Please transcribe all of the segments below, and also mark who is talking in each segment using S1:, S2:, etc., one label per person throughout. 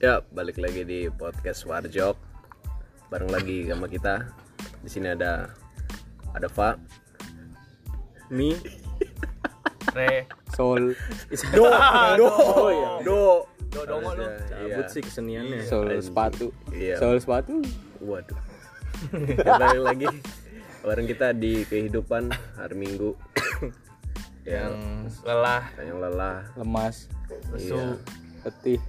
S1: Ya, balik lagi di podcast Warjok. Bareng lagi sama kita. Di sini ada ada Fa,
S2: Mi,
S3: Re,
S4: Sol,
S2: Do,
S1: Do, Do.
S3: do dongo
S1: Oh, iya. Harusnya,
S3: lu.
S1: iya.
S2: Cabut sih keseniannya.
S4: sol
S1: anjing.
S4: sepatu.
S1: Iya.
S2: Ya.
S4: Sol sepatu.
S1: Waduh. Ya, balik lagi bareng kita di kehidupan hari Minggu.
S3: yang
S1: yang
S3: lelah,
S1: yang lelah.
S4: Lemas,
S3: lesu,
S1: Iya.
S4: letih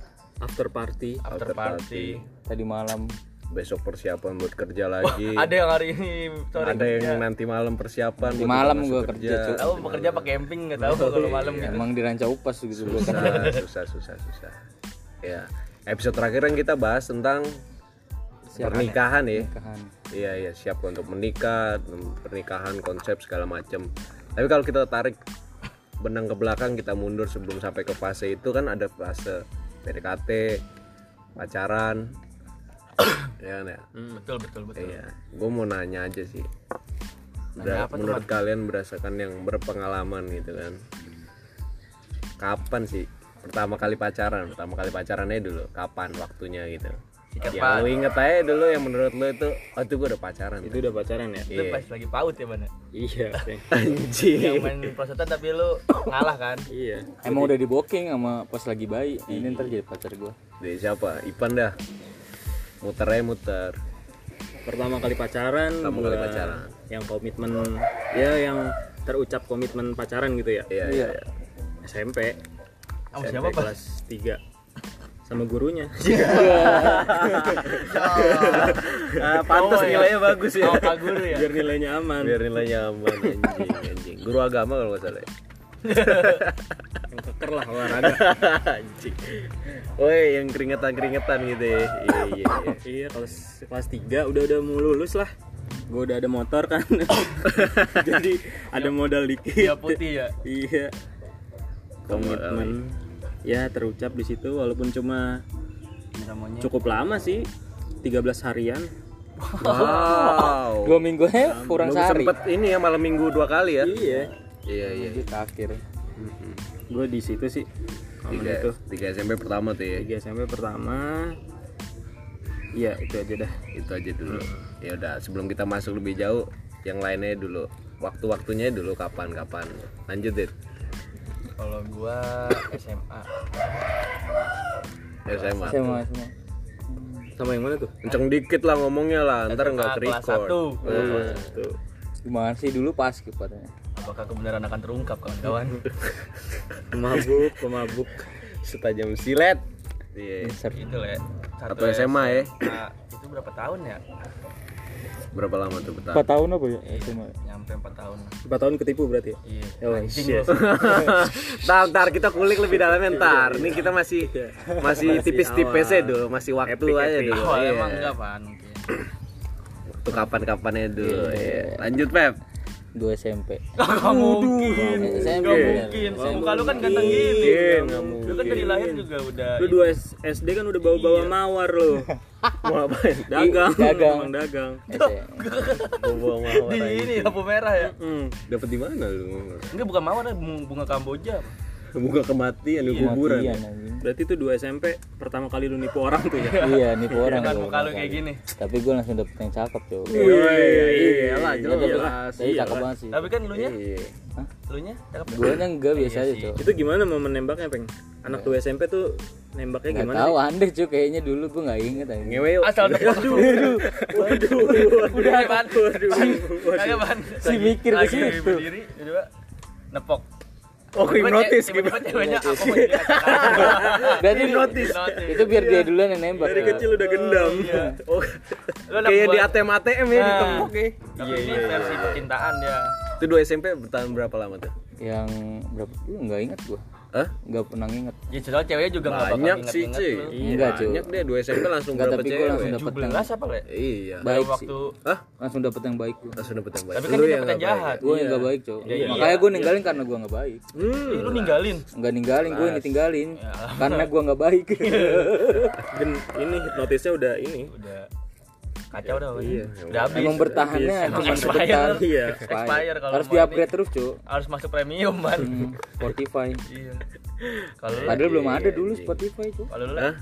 S2: After party.
S3: after party.
S4: tadi malam.
S1: Besok persiapan buat kerja lagi.
S3: Ada yang hari ini sore.
S1: Ada yang nanti malam persiapan.
S4: Nanti
S1: buat
S4: malam
S1: masuk
S4: gua kerja, Cuk.
S3: tahu bekerja pakai camping nggak tahu kalau malam
S2: Iya.
S3: gitu.
S4: Emang di ranca upas gitu gua kan.
S1: susah susah susah susah ya episode terakhir kan kita bahas tentang pernikahan ya
S4: Nikahan.
S1: iya iya siap untuk menikah mem- pernikahan konsep segala macam tapi kalau kita tarik benang ke belakang kita mundur sebelum sampai ke fase itu kan ada fase PDKT pacaran ya kan ya
S3: Betul betul betul.
S1: iya gue mau nanya aja sih Bera- menurut kalian berdasarkan yang berpengalaman gitu kan kapan sih pertama kali pacaran pertama kali pacarannya dulu kapan waktunya gitu
S3: Sikat
S1: yang lu inget aja dulu yang menurut lu itu oh itu gue udah pacaran
S2: Itu udah pacaran ya?
S3: Itu pas lagi paut ya mana?
S2: Iya.
S3: Yang
S1: anjing
S3: main prosotan tapi lu ngalah kan?
S2: iya.
S4: Emang udah di booking sama pas lagi bayi. Ini ntar jadi pacar gua.
S1: dari siapa Ipan dah muter aja muter
S2: Pertama kali pacaran.
S1: Pertama
S2: gua
S1: kali pacaran.
S2: Yang komitmen, ya yang terucap komitmen pacaran gitu ya.
S1: iya iya iya.
S2: SMP.
S3: Sama
S2: SMP
S3: siapa pas?
S2: Kelas 3 sama gurunya.
S1: ah, pantas
S3: Oh, iya.
S1: nilainya bagus ya
S3: Sama Pak Guru ya.
S2: Biar nilainya aman.
S1: biar nilainya aman anjing anjing guru agama kalau nggak salah ya.
S2: Yang keker lah olahraga.
S1: anjing woi yang keringetan keringetan gitu ya iya iya, iya.
S2: iya, kelas kelas 3 udah udah mau lulus lah. Gue udah ada motor kan. Jadi ada modal dikit.
S3: Dia Iya. putih ya.
S2: Iya. Komitmen. Ya terucap di situ walaupun cuma cukup lama sih. 13 harian.
S1: Wow.
S4: Dua minggu ya
S1: Lu
S4: kurang sehari.
S1: sempet ini ya malam minggu dua kali ya?
S2: Iya.
S1: Iya iya.
S4: Jadi terakhir.
S2: Gue di situ sih. Momen
S1: Tiga,
S2: itu.
S1: tiga SMP pertama tuh ya.
S2: 3 SMP pertama. Iya, itu aja dah.
S1: Itu aja dulu. Ya udah sebelum kita masuk lebih jauh, yang lainnya dulu. Waktu-waktunya dulu kapan-kapan. Lanjut deh.
S3: Kalau gua SMA.
S1: SMA.
S4: Sama semua.
S2: Sama yang mana tuh?
S1: Kenceng dikit lah ngomongnya lah, ntar nggak
S3: SMA kelas
S1: record.
S3: 1.
S1: Hmm.
S2: Tuh.
S4: Gimana sih dulu pas gitu katanya.
S3: Apakah kebenaran akan terungkap kawan-kawan?
S2: Mabuk, pemabuk.
S1: Setajam silet. Iya.
S4: Insert.
S3: itu lah ya.
S1: Satu SMA ya.
S3: SMA. Itu berapa tahun ya?
S1: Berapa lama tuh betah?
S4: Empat tahun apa ya? Cuma
S3: Nyampe 4 tahun.
S2: 4 tahun ketipu berarti ya?
S3: Iya.
S2: Oh,
S3: Anjing
S2: shit.
S3: lu.
S1: Ntar, ntar kita kulik lebih dalamnya ntar. Ini kita masih Iya. masih tipis-tipis aja dulu, masih waktu aja dulu.
S3: Awal
S1: Iya.
S3: Oh, emang enggak pan mungkin.
S1: Waktu kapan-kapannya dulu. Iya. Lanjut, Pep.
S4: dua SMP.
S3: Gak mungkin.
S4: Eh, SMP.
S3: Gak mungkin. Muka lu kan ganteng gini.
S2: Iya, nggak mungkin.
S3: Lu kan dari lahir juga udah.
S2: Lu dua S- SD kan udah bawa-bawa mawar lu.
S1: Mau apain?
S2: Dagang,
S4: Dagang.
S2: emang dagang.
S4: SMP.
S1: Bobo sama
S3: Di ini lampu merah ya.
S2: Hmm.
S1: Dapat di mana lu?
S3: Enggak bukan mawar ya, bunga bunga Kamboja.
S1: Bunga kematian di kuburan.
S4: Matian Iya, anjing.
S2: Berarti itu 2 SMP pertama kali lu nipu orang tuh ya.
S4: Iya, nipu orang.
S3: Jangan muka
S4: gua
S2: kan.
S3: lu
S4: pertama
S3: kayak
S4: kali.
S3: gini.
S4: Tapi gua langsung dapet yang cakep, Cok.
S1: Iya, iya lah, jelas.
S2: Iya,
S4: Tapi cakep banget sih.
S3: Tapi kan lu nya,
S1: Iya.
S3: lu nya cakep. ya?
S4: Guanya
S2: Iya
S4: enggak biasa aja,
S3: sih.
S4: Cok.
S2: Itu gimana mau menembaknya, Peng? Anak 2 SMP tuh nembaknya
S4: Gak
S2: gimana?
S4: tahu aneh cuy kayaknya dulu gua nggak inget anjing.
S1: Ngewe yuk.
S3: Asal nebak. Waduh. Udah pan. Kagak pan.
S4: Si mikir ke
S3: lagi
S4: situ.
S3: berdiri, tiba nepok.
S1: Oh, hipnotis gimana?
S3: Tiba-tiba ceweknya apa mau jadi kacang.
S4: Berarti
S3: Hipnotis.
S4: Itu biar dia duluan yang nembak.
S2: Iya. Dari kecil udah gendam.
S3: Iya.
S1: Oh,
S3: Lu anak
S1: kayak di
S3: buah.
S1: ATM ATM ya di
S3: Nah.
S1: tembok ya.
S3: Tapi ini versi percintaan ya. dia.
S1: Itu dua SMP bertahan berapa lama tuh?
S4: Yang berapa? Lu nggak inget gua.
S1: Hah?
S4: Nggak pernah inget.
S3: Ya soalnya ceweknya juga nggak bakal
S1: Banyak sih,
S3: inget-inget
S1: cuy. Iya,
S3: lu.
S4: Enggak, cuy.
S1: Banyak deh dua SMP langsung
S4: Enggak,
S1: berapa
S4: tapi gua
S1: cewek?
S4: langsung dapet yang
S3: 17 apa le?
S1: Iya.
S4: baik sih.
S3: waktu
S1: Hah?
S4: Langsung dapet yang baik gua.
S1: Langsung dapet yang baik.
S3: tapi kan
S1: Lu
S3: dia
S1: yang
S3: dapet yang
S1: nggak
S3: jahat.
S4: Gua yang nggak baik cuy.
S3: Iya.
S4: Makanya gua ninggalin karena gua nggak baik.
S3: Ih, Lu ninggalin.
S4: Nggak ninggalin, gua yang ditinggalin
S3: Iya.
S4: karena gua nggak baik.
S2: Gen- ini hipnotisnya udah ini.
S3: Udah kacau dah. Iya. Udah habis.
S4: Emang bertahannya
S3: Emang
S4: cuma
S3: expired.
S4: sebentar.
S2: Iya.
S4: Expired.
S3: Expired kalau
S4: Harus
S3: mau
S4: di-upgrade Hmm. terus, cuy.
S3: Harus masuk premium, man.
S4: Spotify.
S3: Iya. Kalau lu Iya,
S4: Padahal belum ada dulu Spotify, cuy.
S3: kalau lu
S1: Hah?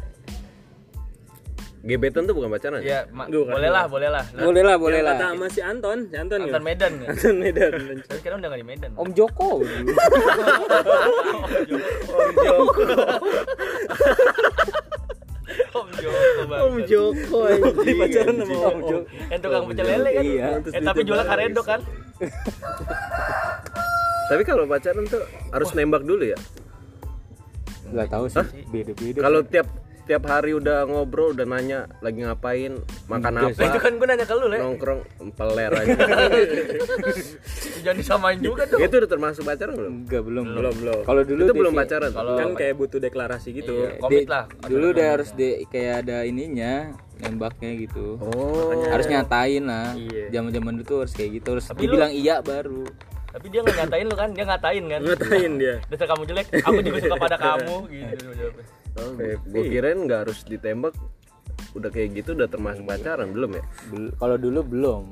S1: Gebetan tuh bukan pacaran.
S3: Iya, ma-
S2: Bukan,
S3: boleh lah, boleh lah. Nah,
S4: boleh lah boleh
S2: Yang
S4: lah
S2: Kata sama si Anton, si Anton
S3: Anton
S2: nggak?
S3: Medan ya.
S2: Anton Medan.
S3: Tapi sekarang udah gak di Medan.
S4: Om Joko dulu.
S3: Om Joko. Om Joko bang. Om
S2: Joko anjing. pacaran sama Om Joko.
S3: Yang tukang pecel lele kan.
S4: Iya.
S3: Eh tapi jualan karedok kan.
S1: Tapi kalau pacaran tuh harus nembak dulu ya.
S4: Gak tahu sih, beda-beda.
S1: Kalau tiap tiap hari udah ngobrol, udah nanya lagi ngapain, makan
S3: Nah, itu
S1: apa,
S3: kan gue nanya ke lu, Le.
S1: nongkrong, peler aja.
S3: Jangan disamain
S2: Gitu,
S3: juga dong.
S1: itu udah termasuk pacaran belum?
S4: enggak belum.
S1: Belum, belum.
S4: Kalau dulu
S1: itu belum
S4: Devi-
S1: pacaran.
S3: Kalau
S2: Kan kayak butuh deklarasi gitu.
S3: Iya, komit
S4: Di-
S3: lah.
S4: Dulu udah harus di kayak ada ininya, nembaknya gitu.
S1: Oh.
S4: Harus nyatain lah.
S2: Iya.
S4: Zaman-zaman dulu tuh harus kayak gitu, harus
S3: Tapi lu-
S4: dibilang iya baru.
S3: Tapi dia nggak ngatain lu kan, dia ngatain kan.
S2: Ngatain dia.
S3: Dasar kamu jelek, aku juga suka pada kamu gitu. jawabnya.
S1: Oh, gue kirain nggak harus ditembak udah kayak gitu udah termasuk pacaran belum ya
S4: Bel- Kalau dulu belum.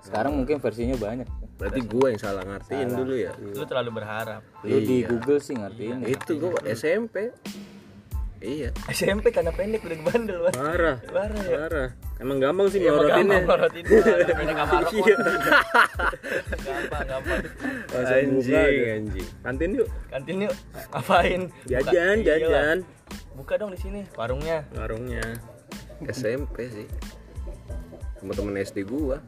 S4: Sekarang mungkin versinya banyak.
S1: berarti gue yang salah ngertiin dulu ya
S3: Lu terlalu berharap.
S4: Lu di
S1: Iya.
S4: Google sih ngertiin. ya.
S1: itu gue SMP iya
S3: SMP karena pendek udah bandel, Mas.
S2: Parah.
S3: Parah ya.
S2: Parah. Emang gampang sih
S3: Iya, Emang
S2: melorotinnya.
S3: gampang melorotin. Ada Pendek sama rokok.
S2: Iya.
S3: Gampang, gampang.
S2: Langsung buka aja.
S1: anjing
S2: Kantin yuk.
S3: Kantin yuk, ngapain? Buka-
S2: Jajan,
S3: Iya lah.
S2: jajan.
S3: Buka dong di sini warungnya.
S2: Warungnya.
S1: SMP sih teman-teman SD gua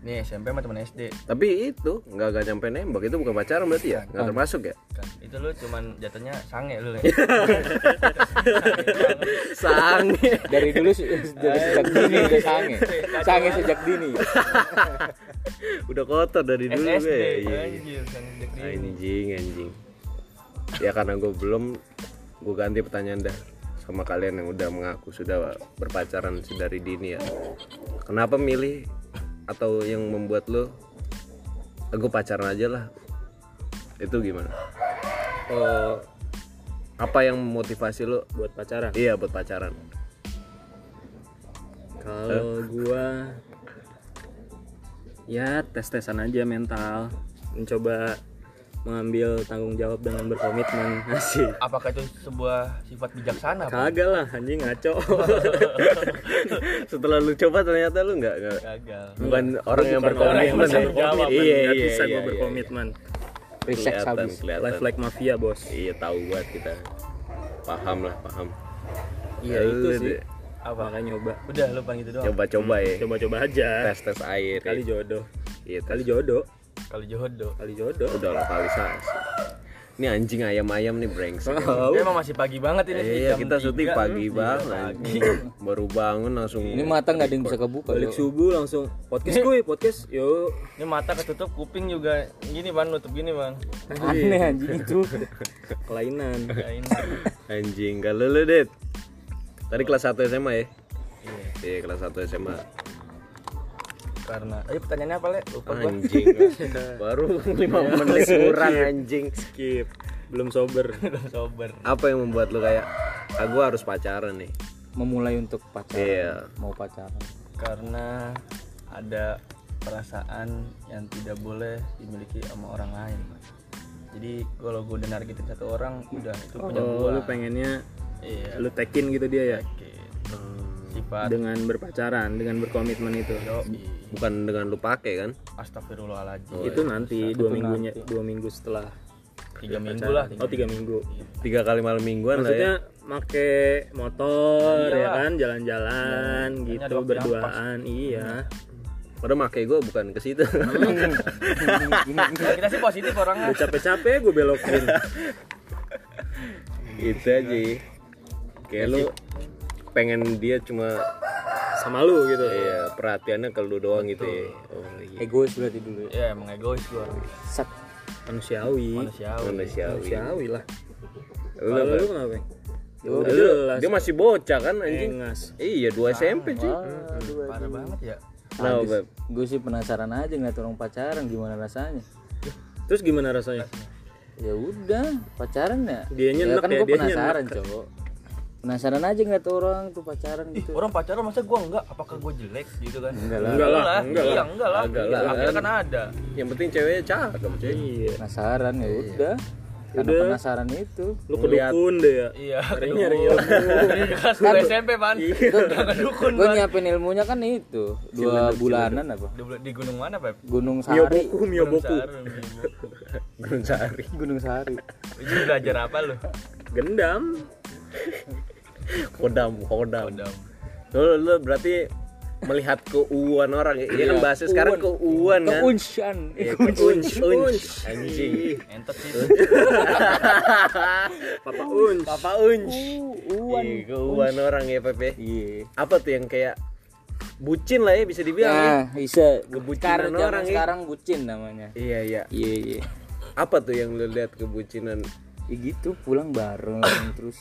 S3: Nih SMP sama temen SD.
S1: tapi itu nggak nggak nyampe nembak itu bukan pacaran berarti ya nggak termasuk ya
S3: Kan, Itu lu cuman jatuhnya sange lu. Le.
S1: sange
S4: Dari dulu se- dari sejak dini udah sange.
S3: Iya.
S4: Sange sejak dini.
S1: udah kotor dari dulu
S3: SSD.
S1: gue Iya.
S3: Anjir, sange gede.
S1: anjing anjing ya karena gue belum gue ganti pertanyaan dah sama kalian yang udah mengaku sudah berpacaran dari dini ya kenapa milih atau yang membuat lo aku pacaran aja lah itu gimana
S2: Oh,
S1: apa yang memotivasi lo
S2: buat pacaran.
S1: iya buat pacaran
S2: Kalau gua ya tes-tesan aja mental, mencoba mengambil tanggung jawab dengan berkomitmen. Asik.
S3: Apakah itu sebuah sifat bijaksana? Pak?
S2: Kagak lah anjing ngaco.
S1: setelah lu coba ternyata lu nggak nggak-
S3: Gagal.
S1: bukan orang yang
S2: Iya. Bukan
S1: berkomitmen ya.
S2: orang yang bisa berkomitmen,
S1: iya
S2: nggak
S1: iya
S2: bisa
S1: iya
S2: gua berkomitmen.
S4: Resex
S1: kelihatan
S4: habis.
S1: kelihatan
S2: Life like mafia, Bos.
S1: Iya tahu buat kita paham lah paham.
S2: Iya,
S1: Ya,
S2: itu
S1: lu
S2: sih.
S1: deh,
S3: Apa?
S2: Makanya nyoba.
S3: Udah lu paling itu doang.
S1: Coba-coba ya.
S2: Coba-coba aja.
S1: Tes tes air. ya.
S2: Kali jodoh.
S1: Iya
S2: Kali
S1: kali.
S2: jodoh.
S3: Kalau jodoh.
S2: Kali jodoh.
S1: Udah lokalisasi. Ini anjing ayam-ayam nih brengsek.
S2: Tahu.
S3: Emang masih pagi banget Oh, ini sih,
S1: Iya
S3: jam
S1: kita syuting
S3: tiga. Hmm.
S1: pagi
S3: Tiga
S1: banget.
S3: pagi.
S1: anjing. Baru bangun langsung.
S4: Ini mata nggak ada yang bisa kebuka.
S2: Balik
S3: Iya.
S4: loh.
S2: subuh langsung podcast kuy, podcast. Yo.
S3: Ini mata ketutup, kuping juga gini ban, nutup gini ban.
S4: Aneh anjing itu.
S1: Kan.
S2: Kelainan.
S3: Ya ini.
S1: Anjing kalau lu dit. Tadi kelas 1 SMA ya? Iya kelas 1 SMA
S3: Karena, ayo pertanyaannya apa le? Lupa gua.
S1: Anjing Baru 5 menit kurang anjing
S2: Skip. Belum sober.
S3: Belum sober.
S1: Apa yang membuat lu kayak ah, gua harus pacaran nih
S4: Memulai untuk pacaran.
S1: Iya
S4: Mau pacaran.
S3: Karena ada perasaan yang tidak boleh dimiliki sama orang lain. Jadi kalau gue udah nargetin satu orang, udah itu punya
S2: Oh,
S3: gua.
S2: lu pengennya
S3: Iya. Hmm.
S2: lu tekin gitu dia ya
S3: Oke. Sifat
S2: dengan berpacaran, dengan berkomitmen itu.
S3: doi.
S1: Bukan dengan lu pake kan
S3: Astagfirullahaladzim.
S2: itu iya. nanti dua minggunya, dua minggu setelah.
S3: Tiga minggu lah.
S2: Oh tiga minggu. Iya.
S1: tiga kali malam mingguan lah ya
S2: Maksudnya make motor ya
S3: Iyalah.
S2: kan, jalan-jalan gitu
S3: waktu yang
S2: berduaan, iya.
S1: padahal make gue bukan ke situ
S2: Hmm.
S3: Kalau kita sih positif orangnya.
S2: Udah capek-capek gue belokin.
S1: itu Gitu aja
S2: Iya.
S1: kayak lu pengen dia cuma
S2: sama lu gitu.
S1: ya perhatiannya ke lu doang gitu ya oh iya
S4: Egois berarti dulu. ya.
S3: Ya emang egois gue orang
S4: Set.
S2: Manusiawi.
S3: manusiawi.
S1: manusiawi
S2: Manusiawi lah.
S1: Lu
S2: Kalau lu kenapa? Bang?
S1: Lu-
S2: Udah jelas.
S1: dia masih bocah kan anjing
S2: Engas.
S1: iya dua SMP cuy
S3: Parah banget ya.
S1: nah Beb,
S4: Gue sih penasaran aja ngeliat orang pacaran gimana rasanya.
S2: Terus gimana rasanya?
S4: Ya udah, pacaran ya.
S2: Dianya
S4: ya
S2: enak
S4: kan
S2: ya,
S4: gue
S2: dianya
S4: penasaran, cowok. Penasaran aja ngeliat orang tuh pacaran gitu.
S3: Orang pacaran masa gue enggak? Apakah gue jelek gitu kan? Enggak
S2: Enggak lah,
S3: Enggak lah. Iya, enggak lah.
S1: Enggak lah.
S3: Akhirnya kan ada.
S1: yang penting ceweknya cakep cuy
S2: Iya.
S4: Penasaran ya udah. karena
S2: Udah.
S4: penasaran itu
S2: Lu ke dukun deh ya.
S3: Iya,
S2: Nyarinya
S3: kedukun.
S2: Rio.
S3: Dari kelas dua SMP, Pan. Kedukun,
S4: gue
S3: Pan.
S4: nyiapin ilmunya kan itu dua bulanan apa
S3: Di- Di gunung mana, Pep?
S4: Gunung Sari
S2: Miyoboku,
S1: Iya,
S2: Miyoboku.
S3: Sarung, di buku.
S1: Gunung Sari.
S4: Gunung Sari
S3: Lu belajar apa lu?
S2: Gendam.
S1: Kodam, kodam.
S3: Kodam.
S1: Lu, lu berarti melihat keuuan orang ya. Iya kan bahasa sekarang keuuan kan.
S4: keunsyan
S1: Iya, Keunch, unch, anjing.
S3: Entot sih.
S2: Papa Unch.
S1: Papa unch.
S4: uan
S1: Iya, keuuan orang ya, Pepe.
S4: iya
S1: Apa tuh yang kayak bucin lah ya bisa dibilang ya.
S4: nah bisa
S1: Kebucinan
S4: sekarang
S1: orang,
S4: orang
S1: ya.
S4: sekarang bucin namanya
S1: Iya, iya.
S4: iya iya
S1: Apa tuh yang lu lihat kebucinan?
S4: Ya gitu pulang bareng terus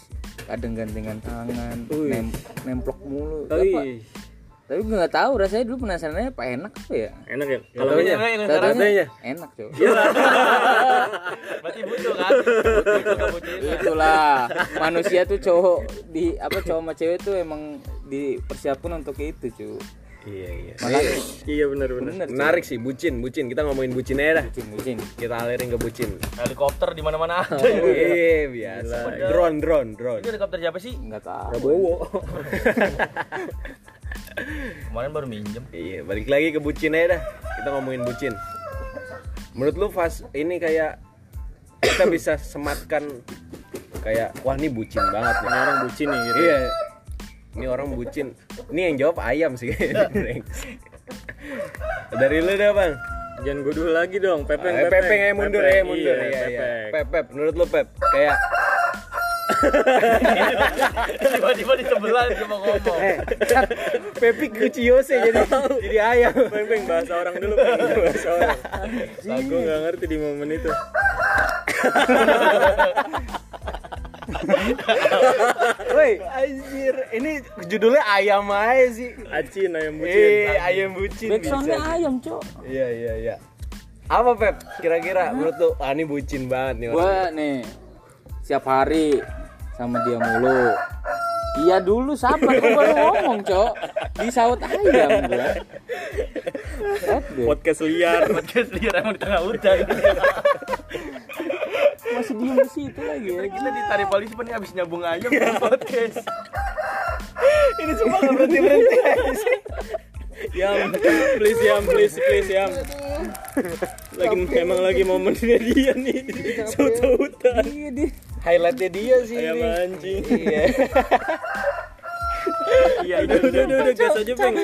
S4: kadang gantengan tangan nem- nemplok mulu Apa-
S2: Oi,
S4: tapi gue nggak tahu rasanya dulu penasarannya apa enak apa ya
S2: enak ya? Kalau
S1: Katanya, katanya.
S4: enak coba
S1: Iya.
S3: Berarti butuh kan? Butuh kebucinan.
S4: itulah manusia tuh cowok di apa cowok sama cewek tuh emang dipersiapkan untuk itu cu
S1: Iya, iya.
S4: malah
S2: iya benar-benar.
S4: bener cu.
S1: Menarik sih bucin, bucin. Kita ngomongin bucin aja dah.
S4: bucin bucin
S1: Kita alirin ke bucin.
S3: Helikopter di mana-mana ada.
S1: Iya, biasa. Drone, drone, drone.
S3: Itu
S2: Iya.
S3: helikopter siapa sih?
S4: nggak tahu
S1: Prabowo.
S3: Kemarin baru minjem.
S1: Iya, balik lagi ke bucin aja dah. Kita ngomongin bucin. Menurut lu fas ini kayak kita bisa sematkan kayak wah ini bucin banget nih.
S2: Ini orang bucin nih gitu.
S1: Iya. Ini orang bucin. Ini yang jawab ayam sih. Dari lu deh, Bang.
S2: Jangan gue dulu lagi dong, Ah, Pepeng.
S1: Eh, Pepe yang mundur, eh mundur.
S2: Iya,
S1: Iya, iya.
S2: Pepeng.
S1: Pep, Pep, menurut lu Pep kayak
S3: Tiba-tiba di sebelah dia mau ngomong.
S1: Eh. Pepi kuciose jadi jadi ayam.
S2: Peng, peng, bahasa orang dulu, Peng. bahasa orang. Aku nggak ngerti di momen itu.
S1: Woi, anjir, ini judulnya ayam aja sih.
S2: Acin ayam bucin.
S1: Eh, ayam bucin
S4: backsoundnya ayam cu
S1: Iya iya iya. Apa Pep? Kira-kira menurut lu ah, ini bucin banget nih orang.
S4: gue nih siap hari sama dia mulu iya dulu sabar gue baru ngomong cok di saut ayam gue
S2: Podcast liar.
S3: Podcast liar emang di tengah hutan.
S4: masih diem di situ lagi ya.
S3: Kita ditarik polisi pan ini abis nyambung ayam di podcast.
S1: Iya. Ini cuma nggak berhenti berhenti.
S2: Yam, please ya. yam, please please yam. Lagi emang lagi momennya dia nih. Suatu hutan.
S4: Iya, dia.
S1: Highlightnya dia sih
S2: Ayam
S1: ini.
S2: anjing.
S1: Iya.
S2: Iya, udah udah udah, udah gas aja, Peng.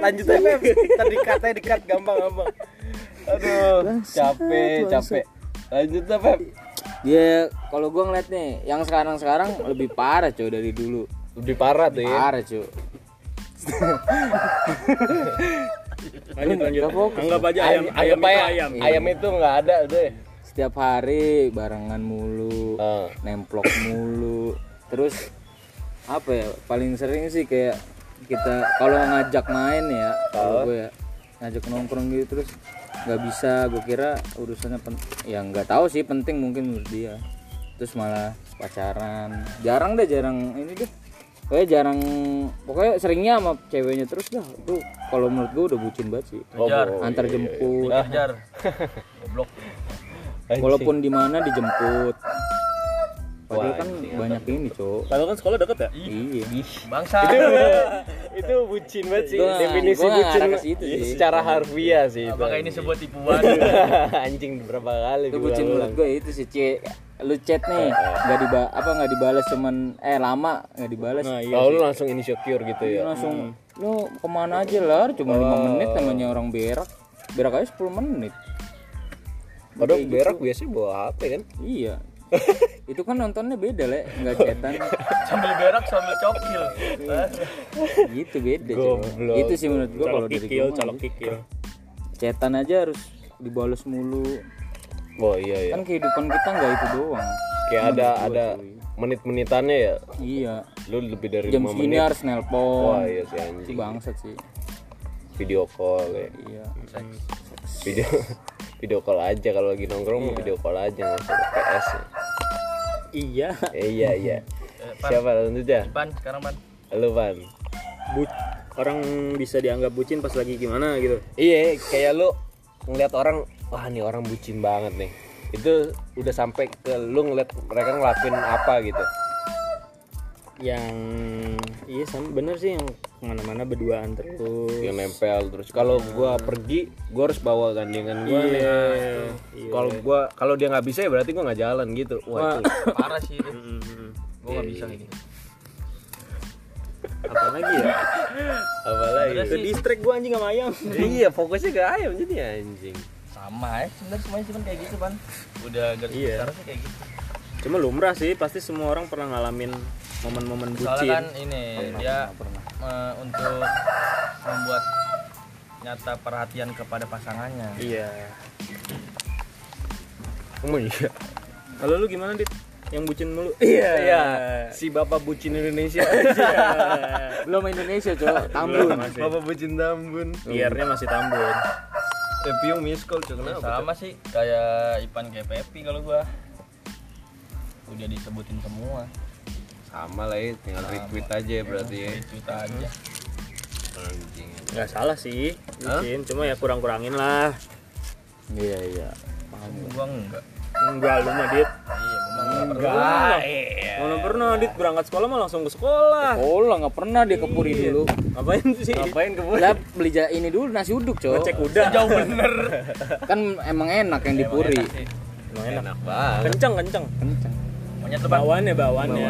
S1: Lanjut aja Pep. Tadi katanya dekat gampang gampang. Aduh, capek capek. Lanjut lah Pep.
S4: dia Iya, kalau gue ngeliat nih yang sekarang sekarang lebih parah cuy dari dulu
S1: Lebih parah tuh ya.
S4: parah cuy
S2: Lanjut lanjut.
S4: Nggak fokus.
S2: Anggap aja ayam ayam itu ayam.
S1: Ya, Ayam itu nggak ada udah.
S4: setiap hari barengan mulu
S1: Ah.
S4: nemplok mulu terus apa ya paling sering sih kayak kita kalau ngajak main ya kalau gue ya ngajak nongkrong gitu terus nggak bisa gue kira urusannya pen ya nggak tahu sih penting mungkin menurut dia terus malah pacaran jarang deh jarang ini deh kayak jarang pokoknya seringnya sama ceweknya terus dah itu kalau menurut gue udah bucin banget sih
S3: Ngejar.
S4: antar jemput
S3: Ngejar. Goblok.
S4: walaupun di mana dijemput padahal kan
S2: iya,
S4: banyak ini cok
S2: Padahal kan sekolah deket ya?
S4: iya
S3: Bangsa.
S1: Itu bucin banget sih.
S4: Gua-
S1: Definisi
S4: gua nggak
S1: bucin
S4: ngarah ke situ sih.
S1: secara harfiah sih itu.
S3: Apakah ini sebuah tipuan?
S1: anjing berapa kali
S4: itu bucin
S1: diulang-ulang.
S4: menurut gue itu sih cie lu chat nih nggak diba apa nggak dibalas cuman eh lama nggak dibalas
S2: Nah, iya.
S1: Oh,
S2: Hmm.
S1: lu langsung insecure gitu ya.
S4: Lu langsung lu kemana aja lah cuma lima menit namanya orang berak berak aja 10 menit
S1: Padahal berak biasanya bawa HP kan.
S4: iya itu kan nontonnya beda lah nggak chatan
S3: Sambil berak sambil cokil. Eh,
S4: gitu beda Cok. itu sih menurut gue kalau
S2: Colok
S4: dari
S2: kikil,
S4: gue
S2: colok kikil.
S4: chatan aja harus dibalas mulu
S1: Oh iya iya.
S4: kan kehidupan kita nggak itu doang
S1: Kayak ada ada menit-menitannya ya.
S4: Iya,
S1: iya. Lu lebih dari
S4: jam
S1: 5
S4: segini Oh.
S1: menit.
S4: harus
S1: Wah,
S4: nelpon.
S1: iya sih
S4: Itu
S1: anjing.
S4: bangsat sih.
S1: Video call ya.
S4: Iya.
S1: Video video call aja kalau lagi nongkrong video call aja nggak usah pakai PS. ya.
S2: Iya.
S1: Eh, iya iya.
S3: Eh, Pan.
S1: Siapa lanjutnya?
S3: Pan sekarang pan.
S1: Lu Van.
S2: Bu- orang bisa dianggap bucin pas lagi gimana gitu.
S1: Iya, kayak lu ngeliat orang wah nih orang bucin banget nih. itu udah sampai ke lu ngeliat mereka ngelakuin apa gitu
S2: yang iya sama bener sih yang kemana-mana berduaan terus
S1: yang nempel terus kalau gua pergi gua harus bawa gandengan gua nih kalau gua kalau dia nggak bisa ya berarti gua nggak jalan gitu wah, itu
S3: parah sih itu gue nggak bisa kayak gitu
S2: apa lagi ya
S1: apalagi
S2: ke distrik gua anjing sama ayam
S1: iya fokusnya gak ayam jadi anjing
S3: sama ya sebenarnya semuanya cuman kayak gitu ban udah garis
S2: Iya.
S3: besar sih kayak gitu
S2: cuma lumrah sih pasti semua orang pernah ngalamin momen-momen
S3: soalnya kan
S2: bucin
S3: ini dia eh, untuk membuat nyata perhatian kepada pasangannya
S2: iya
S1: oh iya
S2: kalau lu gimana dit yang bucin mulu iya
S1: Iya, si bapak bucin Indonesia
S3: eh,
S4: belum Indonesia cowok Tambun
S1: bapak bucin Tambun
S2: biarnya masih tambun
S1: eh piung miss call cuy
S3: Ya,
S1: kenapa
S3: sama sih kayak Ipan kayak Pepi kalau gua udah disebutin semua
S1: sama lah ya tinggal retweet aja ya berarti ya
S3: cerita aja
S1: anjing
S2: nggak salah sih bucin cuma ya kurang-kurangin lah
S4: iya iya
S3: gua enggak
S2: enggak lu mah dit
S3: iya gua mah enggak Iya.
S2: enggak mana pernah dit berangkat sekolah mah langsung ke sekolah
S4: oh lah nggak pernah dia ke Puri dulu
S2: Iya. ngapain sih
S1: ngapain ke
S4: lah beli ja- ini dulu nasi uduk cowok
S2: ngecek Iya, udah jauh bener
S4: kan emang enak yang di Puri
S3: sih
S1: enak banget
S2: kenceng kenceng
S4: kencang
S3: maunya terbang
S2: bawaannya bawaannya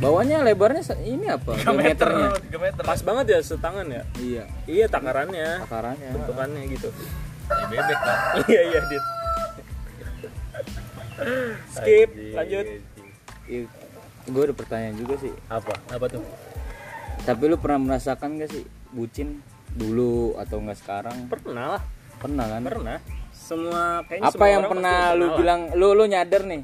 S4: bawahnya lebarnya se- ini apa diameternya
S3: Oh, tiga meter
S2: pas banget ya setangan ya
S4: iya
S2: iya takarannya
S4: takarannya
S2: bentukannya gitu
S3: Kayak bebek lah
S2: iya iya dit skip lanjut
S4: gue Iya. ada pertanyaan juga sih
S1: apa
S3: apa tuh
S4: tapi lu pernah merasakan gak sih bucin dulu atau nggak sekarang
S2: pernah lah
S4: pernah kan
S2: pernah Nah, semua kayaknya
S4: apa
S2: semua
S4: yang
S2: orang
S4: pernah
S2: pasti
S4: lu
S2: lah.
S4: bilang lu lu nyadar nih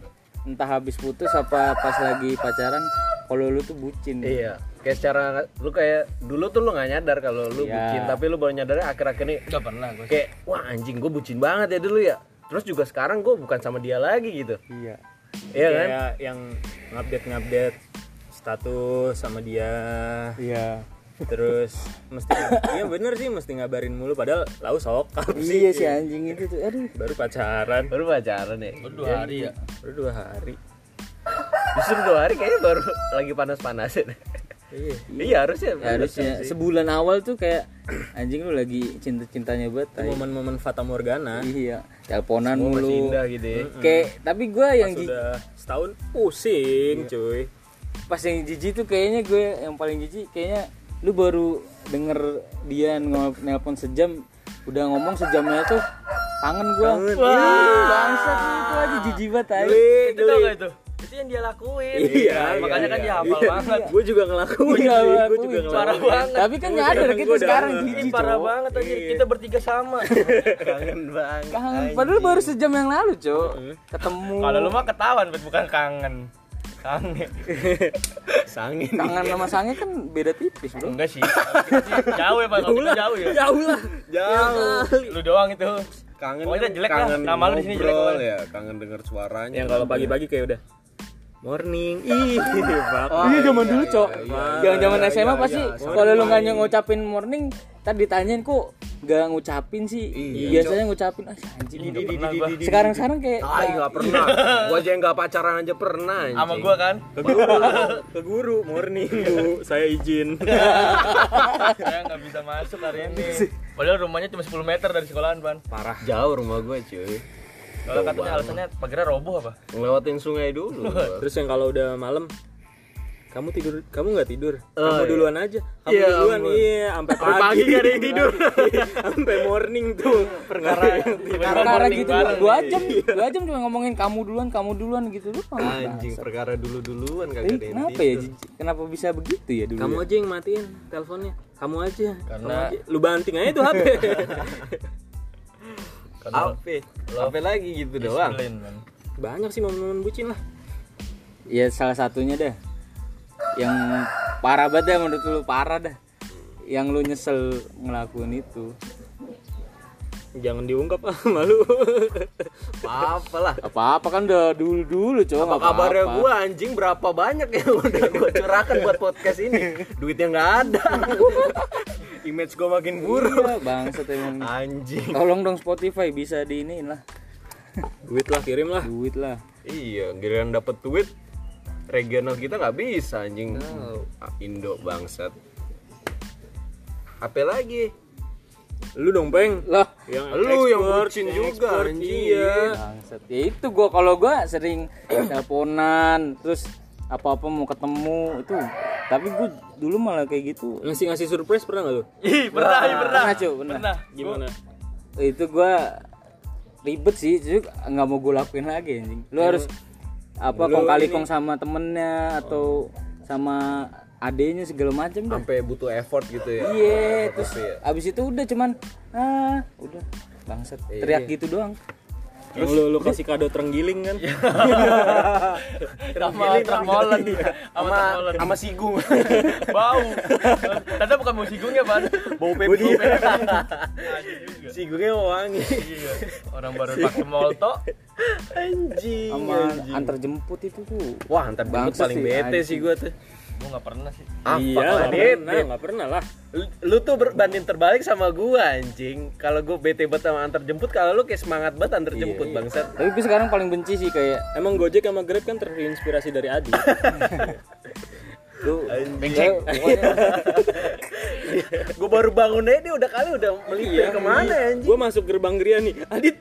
S4: entah habis putus apa pas lagi pacaran kalau lu tuh bucin
S1: iya kayak secara lu kayak dulu tuh lu nggak nyadar kalau lu
S4: Iya.
S1: bucin tapi lu baru nyadarnya akhir-akhir ini
S3: enggak pernah gua
S1: kayak wah anjing gue bucin banget ya dulu ya terus juga sekarang gue bukan sama dia lagi gitu
S4: iya
S1: iya kan
S2: kayak yang ngupdate ngupdate status sama dia
S4: iya
S2: terus mesti iya bener sih mesti ngabarin mulu padahal lau sok
S4: iya si anjing itu tuh aduh
S2: baru pacaran
S1: baru pacaran ya
S3: Gua dua hari ya
S2: baru dua hari
S1: justru dua hari kayaknya baru lagi panas-panasin
S2: iya
S1: iya harusnya
S4: Ya, harusnya sebulan awal tuh kayak anjing lu lagi cinta-cintanya banget tai.
S2: momen-momen fata morgana
S4: iya teleponan
S1: masih
S4: mulu
S1: indah gitu ya
S4: kayak tapi gue yang ji-
S2: sudah setahun
S4: Iya.
S2: pusing cuy
S4: pas yang jijik tuh kayaknya gue yang paling jijik kayaknya lu baru denger dia ngel- nelpon sejam udah ngomong sejamnya tuh kangen gue wah bangsat lu, itu aja jijik banget tai.
S3: itu tau gak itu itu yang dia lakuin
S2: Iya,
S3: makanya
S2: iya,
S3: kan dia
S2: iya.
S3: hafal
S2: Iya.
S3: banget
S2: gue juga ngelakuin
S4: Iya,
S2: sih gue
S4: ngelakuin.
S2: juga ngelakuin
S4: Parah tapi kan nyadar
S2: kangen
S4: gitu
S2: gua
S4: sekarang
S2: dah.
S4: jijik
S3: ini parah
S4: cowok.
S3: banget anjir kita bertiga sama
S1: kangen banget
S4: kangen padahal baru sejam yang lalu cowok ketemu
S3: kalau lu mah ketahuan Bet, bukan kangen kangen
S1: sangin
S4: kangen sama sange kan beda tipis bro
S3: enggak sih Kita sih jauh ya pak Kalau kita jauh ya
S2: jauh lah
S1: jauh
S3: lu doang itu
S1: kangen
S3: Pokoknya
S1: kan
S3: jelek lah.
S1: kangen
S3: Nama lu di sini jelek
S1: ngobrol
S3: kemarin.
S1: ya kangen denger suaranya
S2: yang kalau pagi-pagi kayak udah morning ih bapak
S1: Oh,
S4: Iya zaman dulu cok, zaman zaman
S1: iya,
S4: SMA
S1: iya,
S4: pasti
S1: iya.
S4: kalau lu nggak ngucapin morning, tadi ditanyain kok nggak ngucapin sih.
S1: Iya,
S4: Biasanya ngucapin ah anjing. nggak pernah gua." Sekarang sekarang kayak
S1: ah nggak pernah gua aja yang nggak pacaran aja pernah anjing.
S3: sama gua kan
S2: ke guru ke guru morning bu saya izin
S3: saya nggak bisa masuk hari ini padahal rumahnya cuma 10 meter dari sekolahan ban
S1: parah Ah, jauh rumah gua cuy
S3: kalau katanya alasannya pagarnya roboh apa
S1: ngelewatin sungai dulu gua.
S2: terus yang kalau udah malam kamu tidur kamu nggak tidur
S1: Oh,
S2: kamu
S1: iya.
S2: duluan aja kamu
S1: Iya,
S2: duluan
S1: ampun.
S2: iya sampai pagi,
S1: pagi nggak ada yang tidur.
S2: sampai morning tuh perkara
S4: perkara gitu dua, dua
S1: iya.
S4: jam, dua jam cuma ngomongin kamu duluan, kamu duluan gitu lu.
S1: anjing perkara dulu duluan kagak ada yang
S4: Kenapa ya? jijik? Kenapa bisa begitu ya dulu?
S2: kamu
S4: ya?
S2: aja yang matiin teleponnya kamu aja
S3: Karena-
S2: kamu aja. lu banting aja tuh HP
S3: karena
S1: HP HP lagi gitu doang
S3: disiplin man
S2: banyak sih momen-momen bucin lah
S4: Ya salah satunya dah. Yang parah banget dah menurut lu parah dah. Yang lu nyesel ngelakuin itu.
S2: jangan diungkap ah malu
S1: apa lah
S4: Apa-apa kan udah dulu-dulu cowok
S1: apa kabarnya gua anjing berapa banyak yang udah gua curahkan buat podcast ini duitnya nggak ada image gua makin buruk
S4: Iya, bangsat emang.
S1: anjing
S4: Tolong dong Spotify bisa diiniin lah.
S2: duit lah kirim lah
S4: duit lah
S1: Iya, giliran dapet duit regional kita nggak bisa anjing. Ah, Indo bangsat. Apa lagi?
S2: lu dong peng
S4: lah
S2: yang
S1: Lu yang
S2: export,
S1: bucin
S2: yang
S1: juga,
S2: export,
S1: anjing.
S2: iya
S4: Bangsat. ya itu gua kalau gua sering teleponan terus apa apa mau ketemu itu tapi gua dulu malah kayak gitu
S2: ngasih ngasih surprise pernah nggak lu
S3: Ih, pernah, ih, pernah.
S4: pernah cuy pernah
S3: Pernah.
S2: gimana
S4: itu gua ribet sih jadi nggak mau gue lakuin lagi anjing lu harus apa kong kali kong sama temennya
S1: Oh.
S4: atau sama adenya segala macem dah
S1: Sampai butuh effort gitu ya. Effort
S4: iya terus
S1: apa ya?
S4: abis itu udah cuman ah udah bangsat
S1: Iya.
S4: teriak gitu doang
S2: yang lu lu kasih kado terenggiling kan
S1: Iya.
S3: Sama Tramolan Sama Sama Sigung Bau Ternyata bukan mau Sigung ya Pan Bau pepi
S1: Nah,
S2: si gue wangi
S3: Iya. Orang baru pakai molto
S2: anjing
S1: Iya,
S4: sama antar jemput itu tuh
S1: Wah, antar jemput
S4: Bangsat
S1: paling
S4: sih,
S1: bete sih gua tuh.
S3: Gue gak pernah sih
S1: Apa
S2: iya nggak pernah nggak pernah lah
S1: Lu- lu tuh berbanding terbalik sama gua anjing kalau gua bete banget sama antar jemput kalau lu kayak semangat banget antar jemput bangsat
S4: tapi gue sekarang paling benci sih kayak
S2: Emang Gojek sama Grab kan terinspirasi dari Adi.
S4: lu ya, pokoknya-
S1: gua baru bangun aja dia udah kali udah melipir kemana anjing
S2: gue Iya. masuk gerbang Gria nih. Adit,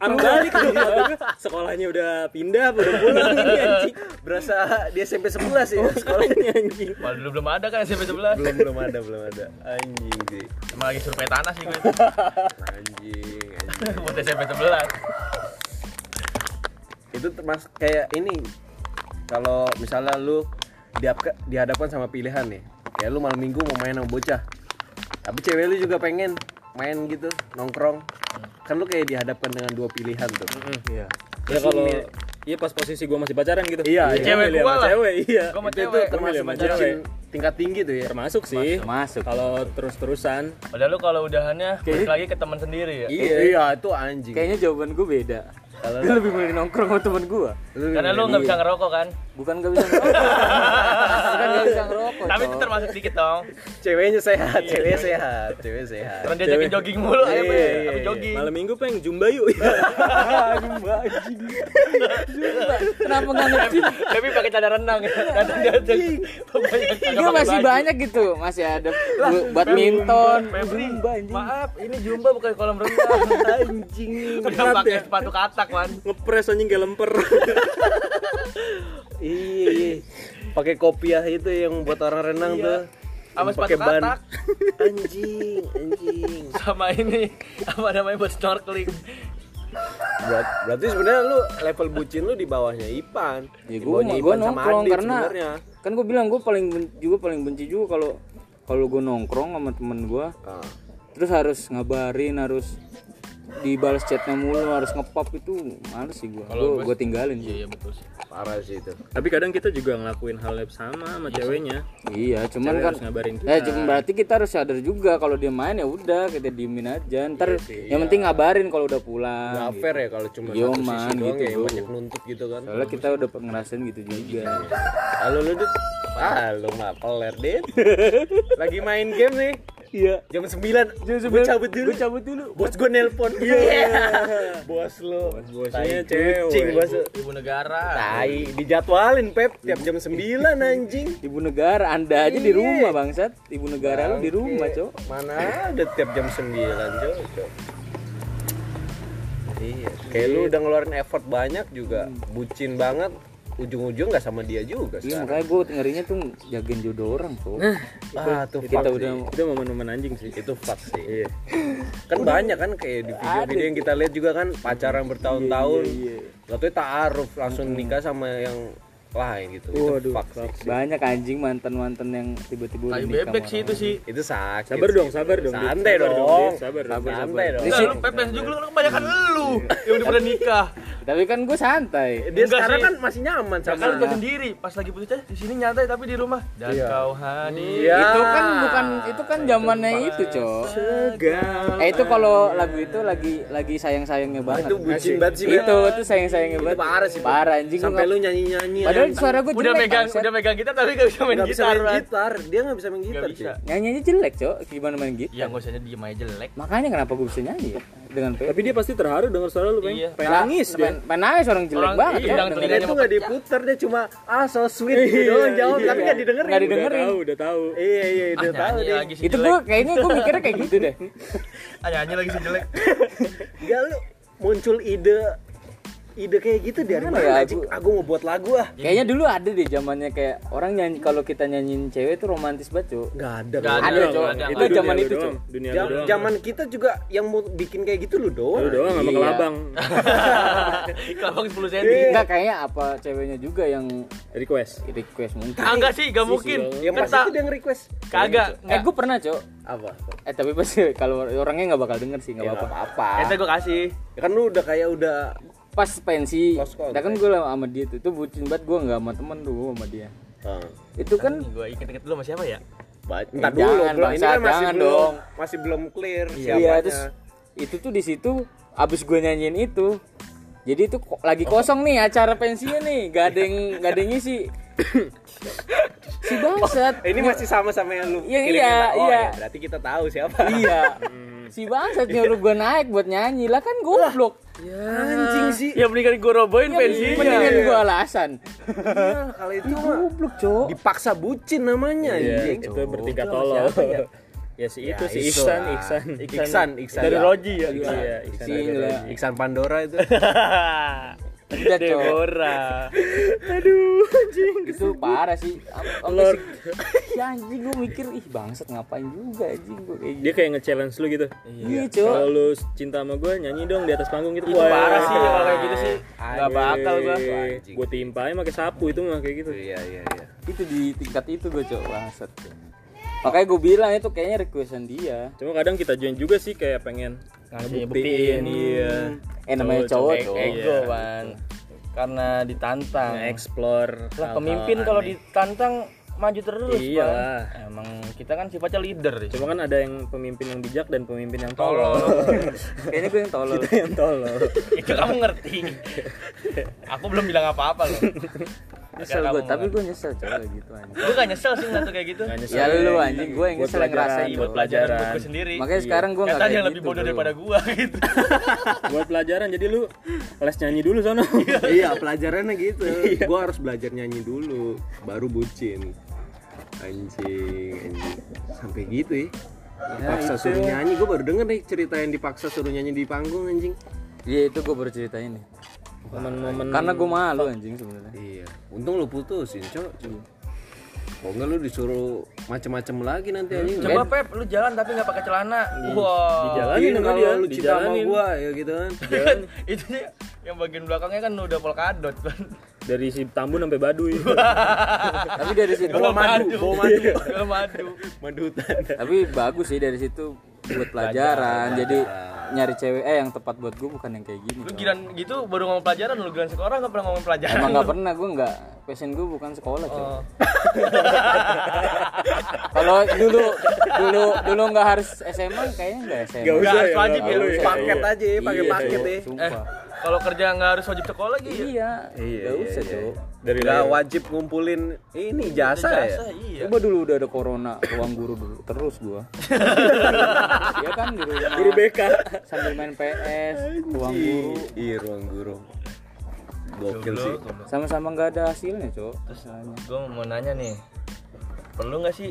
S2: aku balik Iya, Sekolahnya udah pindah, udah pulang ini anjing.
S1: berasa di SMP 11 ya sekolah
S2: Ini anjing.
S3: Waduh dulu belum ada kan SMP 11
S1: belum belum ada belum ada anjing sih
S3: Emang lagi survei tanah sih gue
S1: anjing anjing
S3: Buat SMP 11
S1: itu termas kayak ini kalau misalnya lu dihadapkan, dihadapkan sama pilihan nih ya lu malam minggu mau main sama bocah tapi cewek lu juga pengen main gitu nongkrong kan lu kayak dihadapkan dengan dua pilihan tuh
S4: Iya.
S2: Ya kalau iya pas posisi gue masih pacaran gitu.
S1: Iya, iya.
S2: Gua
S3: Cewek
S2: milih
S3: gua
S2: sama
S3: lah.
S2: Cewek, iya.
S3: Gue mau
S1: itu tuh
S3: cewek
S1: termasuk
S2: sama
S1: bucin
S2: cewek.
S1: tingkat tinggi tuh ya
S2: Termasuk sih.
S4: masuk
S2: Kalau terus-terusan
S3: Udah lu kalau udahannya Balik lagi ke teman sendiri ya
S1: iya, itu anjing
S4: kayaknya jawaban gue beda
S1: Kalau
S4: gue lebih milih nongkrong sama temen gue
S1: lu
S3: Karena lu gak bisa ngerokok kan
S4: bukan gak bisa ngerokok bukan gak bisa ngerokok
S3: Tapi itu
S4: cowok.
S3: termasuk dikit dong
S1: ceweknya sehat Iya, ceweknya sehat cewek sehat
S3: Karena diajakin jogging mulu ayo
S1: Iya,
S3: Bang.
S1: iya,
S3: Tapi
S1: iya.
S3: jogging
S2: malam minggu peng jumba yuk.
S4: Coba, kenapa gak ngerti
S3: Tapi pakai cadar renang ya.
S1: Iya.
S3: Datang datang
S4: Dia masih banyak gitu, masih ada bu- badminton,
S3: Febri,
S4: zumba anjing.
S3: maaf, ini jumba bukan kolam renang. Anjing. Udah pakai
S1: ya.
S3: sepatu katak, man.
S2: Ngepres anjing kayak lemper.
S1: iya iya pakai kopiah itu yang buat orang renang tuh
S3: Iya. Sama
S1: Yang pakai
S3: sepatu
S1: ban
S3: katak.
S1: anjing anjing
S3: Sama ini, apa namanya buat snorkeling.
S1: Berat- berarti sebenarnya lu level bucin lu di bawahnya Ipan
S4: Ya
S1: Di
S4: gue
S1: bawahnya
S4: gue
S1: Ipan sama
S4: nongkrong
S1: Adit
S4: karena
S1: sebenarnya.
S4: kan gue bilang gue paling ben- juga paling benci juga kalau kalau gue nongkrong sama temen gue
S1: Ah.
S4: terus harus ngabarin harus dibalas chatnya mulu harus ngepop itu males sih gue gue tinggalin sih
S3: Iya, betul sih.
S1: parah sih itu
S2: Tapi kadang kita juga ngelakuin hal yang sama sama ceweknya.
S4: iya cuman
S2: Cewek
S4: kan
S2: harus ngabarin kita.
S4: eh cuman berarti kita harus sadar juga kalau dia main ya udah kita diemin aja
S2: Iya
S4: ntar yang penting ngabarin kalau udah pulang
S1: nggak fair ya kalau cuma
S4: Yo,
S2: Iya
S1: satu sisi
S4: man,
S1: doang
S4: gitu,
S1: ya
S4: bro.
S1: banyak nuntut gitu kan
S4: soalnya kita udah ngerasain gitu juga
S1: Halo lu Dit. Ah, lu mah peler, Dit. Lagi main game nih.
S4: iya
S1: Jam 9. Jam Gua cabut dulu.
S4: Gua cabut dulu.
S1: Bos gua nelpon. Iya. Bos lu.
S2: bosnya
S1: tai
S2: cewek.
S1: Kucing bos. lu.
S3: Ibu negara.
S1: Tai dijadwalin, Pep, tiap jam 9 anjing.
S4: Ibu negara, anda aja
S1: Iya.
S4: di rumah bangsat. Ibu negara lu di rumah, cok.
S1: Mana ada tiap jam 9, Cok. Cok. Iya, kayak lu udah ngeluarin effort banyak juga, bucin banget, ujung-ujung nggak sama dia juga. sekarang.
S4: Iya, makanya gue ngerinya tuh jagain jodoh orang, cok.
S1: Ah, tuh
S4: Kita
S1: fuck
S4: udah
S1: sih.
S2: Itu momen-momen anjing sih.
S1: itu fuck sih kan banyak kan kayak di video-video yang kita lihat juga kan pacaran bertahun-tahun lalu taaruf langsung nikah sama yang lain gitu itu fuck sih
S4: banyak anjing mantan-mantan yang tiba-tiba udah
S3: Tai
S4: nikah.
S3: bebek sih itu sih.
S1: itu sakit
S2: Sabar
S1: sih.
S2: dong, sabar dong. Dit.
S1: santai
S2: Sabar
S1: dong,
S2: Dit. Sabar dong.
S1: santai dong
S3: Enggak, lu pepes juga lu kebanyakan lu yang udah pada nikah.
S4: Tapi kan gue santai.
S1: dia
S3: Enggak
S1: sekarang
S3: sih.
S1: kan masih nyaman sama
S3: Kalau kita sendiri, pas lagi putus aja di sini nyantai tapi di rumah. Dan
S4: Iya.
S3: kau hadir.
S1: Iya.
S4: Itu kan bukan itu kan zamannya itu, cok. Eh itu kalau lagu itu lagi lagi sayang-sayangnya banget.
S1: itu bucin banget sih
S4: itu tuh sayang-sayangnya banget.
S1: parah sih, Bang.
S4: Parah anjing.
S1: sampai
S4: gua-
S1: lu nyanyi-nyanyi
S4: Padahal suara gue
S3: Iya, Udah
S4: jelek.
S3: megang,
S4: bangsat.
S3: udah megang gitar tapi gak bisa main
S1: nggak bisa
S3: gitar.
S1: main
S3: Wan.
S1: gitar dia nggak bisa main gitar
S3: bisa.
S1: cuy.
S4: Nyanyinya jelek, cok. Gimana main gitu?
S3: Ya gak usah diem aja jelek.
S4: Makanya kenapa gue bisa nyanyi ya? dengan P.
S2: Tapi dia pasti terharu dengar suara lu, Peng.
S3: Iya.
S2: Pengen nangis dia.
S4: Nah, Pengen- pengen nangis orang jelek
S3: Orang-
S4: banget
S3: iya,
S4: ya.
S3: orang
S5: Dia
S3: telinganya
S5: tuh nggak diputar dia cuma ah so sweet gitu doang jawab tapi nggak didengerin.
S4: Nggak
S2: Udah
S4: didengerin.
S2: tahu, udah tahu.
S5: Iya iya
S3: Ah,
S5: udah tahu
S3: nyanyi
S5: deh.
S3: lagi si
S4: Itu
S3: jelek.
S4: gua kayaknya gua mikirnya kayak gitu deh.
S3: Ah, nyanyi lagi si jelek.
S5: Gak lu muncul ide ide kayak gitu dari
S4: Mana ya,
S5: mana? anjing?
S4: aku-
S5: Ah, gua mau buat lagu ah.
S4: Kayaknya dulu ada deh zamannya kayak orang nyanyi kalau kita nyanyiin cewek tuh romantis banget, Cuk.
S5: Gak ada.
S3: Nggak
S5: Bang.
S3: ada.
S4: Ada, Cuk.
S3: ada.
S4: Itu
S2: dunia
S4: zaman
S2: lu
S4: itu, Cuk.
S2: doang. Dunia lu
S5: Ja-
S2: doang.
S5: Zaman kita juga yang mau bikin kayak gitu lu doang.
S2: Lu doang sama
S4: Iya.
S2: kelabang.
S3: Kelabang 10 cm.
S4: Enggak kayaknya apa ceweknya juga yang
S2: Request.
S4: request mungkin.
S3: Ah, enggak sih, enggak mungkin.
S5: Ya
S3: Kan
S5: pasti
S3: tak-
S5: itu dia nge-request
S3: kagak.
S4: Eh,
S3: Enggak.
S4: gua pernah, Cuk.
S5: apa?
S4: Eh, tapi pasti kalau orangnya nggak bakal denger sih,
S2: Iya.
S4: nggak
S5: Ya,
S4: apa-apa.
S5: apa-apa.
S3: Kita gua kasih.
S5: Ya kan lu udah kayak udah
S4: Pas pensi,
S5: Close contact.
S4: dah kan gue sama dia tuh, tuh bucin banget gue nggak sama temen tuh gua sama dia.
S5: eh,
S4: Itu kan
S3: Nih, Gua inget-inget dulu sama siapa ya?
S5: baik. Entar
S4: Eh,
S5: dulu,
S4: jangan,
S5: bro. ini
S4: bangsat,
S5: kan masih
S4: jangan
S5: belum
S4: dong.
S5: masih belum clear
S4: Iya,
S5: siapanya.
S4: terus itu tuh di situ abis gue nyanyiin itu. Jadi itu ko- lagi kosong nih acara pensinya nih, gak ada yang gak ada yang ngisi. si bangsat.
S5: Eh, ini masih sama-sama yang lu
S4: Iya,
S5: kirimin.
S4: iya,
S5: oh,
S4: iya.
S5: ya, berarti kita tahu siapa.
S4: Iya.
S5: Hmm.
S4: Si bangsat nyuruh gue naik buat nyanyi lah kan goblok.
S5: Anjing sih.
S3: Ya mendingan gua robohin
S4: Ya, mendingan gue alasan.
S5: Iya, kalau itu mah
S4: Goblok, Cok.
S5: dipaksa bucin namanya
S2: Iya,
S5: anjing.
S2: Itu bertingkat tolol. Ya si itu si Iksan, Iksan.
S5: Iksan, Iksan.
S2: Dari
S5: Ya.
S2: Roji ya.
S4: Gila.
S2: Iya, Iksan.
S4: Si
S2: dari
S4: gila.
S2: Roji.
S5: Iksan Pandora itu.
S4: Udah, Cok.
S2: Deborah.
S4: itu parah sih. Am- sampai
S2: Lord.
S4: si- Ya anjing gue mikir ih bangsat ngapain juga anjing gue kayak gitu.
S2: Dia kayak nge-challenge lu gitu.
S4: Iya, Cok.
S2: Kalau lu cinta sama gue nyanyi dong di atas panggung gitu.
S3: Itu parah sih kalau kayak gitu sih. Enggak bakal gua.
S5: Anjing.
S2: Gue timpa aja pakai sapu itu mah kayak gitu.
S5: Iya, iya, iya.
S4: itu di tingkat itu gue cok bangsat makanya gue bilang itu kayaknya requestan dia
S2: Cuma kadang kita join juga sih kayak pengen
S3: Ngasih
S2: buktiin.
S3: buktiin. Iya.
S4: eh namanya
S2: Cowok,
S4: cowok
S2: cowok.
S4: cowok
S3: Ego, Wan. Karena ditantang.
S2: Explore.
S3: Lah
S2: hal-hal
S3: pemimpin kalau
S2: aneh.
S3: ditantang maju terus,
S2: Iyalah.
S3: Bang. Emang kita kan sifatnya leader ya.
S2: Cuma kan ada yang pemimpin yang bijak dan pemimpin yang tolol.
S3: Tolong.
S4: kayaknya gue yang tolol
S2: Kita yang tolol.
S3: itu kamu ngerti. Aku belum bilang apa-apa loh.
S4: nyesel gue tapi gue nyesel cowok kayak gitu anjing
S3: gue gak kan. nyesel sih ngeliat kayak gitu.
S2: Nggak nyesel
S4: ya lu
S2: ya.
S4: anjing gue yang
S2: Buat
S4: nyesel yang ngerasain
S2: pelajaran,
S4: Cok.
S3: Buat pelajaran buat
S2: Pelajaran.
S3: gue sendiri.
S4: makanya sekarang gue nggak
S3: Ternyata dia
S4: kayak
S3: lebih
S4: gitu
S3: bodoh
S4: bro.
S3: daripada gua gitu.
S2: Buat pelajaran jadi lu les nyanyi dulu sono.
S5: iya, pelajarannya gitu. Gua harus belajar nyanyi dulu, baru bucin. Anjing, anjing. Sampai gitu ya. Dipaksa suruh nyanyi, gua baru denger nih cerita yang dipaksa suruh nyanyi di panggung anjing.
S4: iya itu gue baru ceritain nih
S2: Momen-momen
S4: karena gue
S3: Hmm.
S4: malu anjing sebenarnya
S5: Iya, untung lu putusin, Cok. Kalau enggak lu disuruh macem-macem lagi nanti anjing.
S3: Coba Pep, lu jalan tapi gak pakai celana.
S2: di
S3: Wow.
S2: jalan
S5: Jalanin
S2: sama
S5: Iya, kalau
S2: dia,
S5: lu cinta sama
S2: dijalanin.
S5: gua ya gitu kan.
S3: itu dia yang bagian belakangnya kan udah polkadot kan.
S2: dari si Tambun sampai Baduy.
S4: tapi dari situ
S3: Bawa madu,
S5: bawa madu.
S3: Bawa madu.
S5: Madu hutan.
S4: tapi bagus sih dari situ buat pelajaran jadi nyari cewek eh yang tepat buat gue bukan yang kayak gini
S3: Lu
S4: Cok.
S3: giran gitu baru ngomong pelajaran, lu giran sekolah gak pernah ngomong pelajaran.
S4: Emang nggak pernah gue nggak passion gue bukan sekolah cok.
S3: Oh.
S4: Kalau dulu dulu dulu nggak harus SMA kayaknya nggak SMA.
S2: Nggak usah
S3: harus
S2: ya,
S3: wajib
S2: nggak
S3: ya, lu
S2: harus.
S3: ya.
S5: Paket aja ya, pakai
S2: Iya,
S5: paket ya.
S3: Eh,
S4: Sumpah.
S3: kalau kerja nggak harus wajib sekolah gitu.
S4: iya.
S5: Iya,
S4: Nggak
S5: iya,
S4: usah
S5: iya.
S4: cok.
S2: Dari
S5: Nggak
S2: lahir.
S5: wajib ngumpulin ini jasa, ya.
S3: iya.
S4: Coba dulu udah ada corona ruang guru dulu terus gue. Iya kan guru.
S2: Guru BK.
S4: Sambil main PS ruang guru
S5: Iya, ruang guru. Gokil sih.
S4: sama-sama nggak ada hasilnya cok. Masalahnya.
S3: Gue mau nanya nih, perlu nggak sih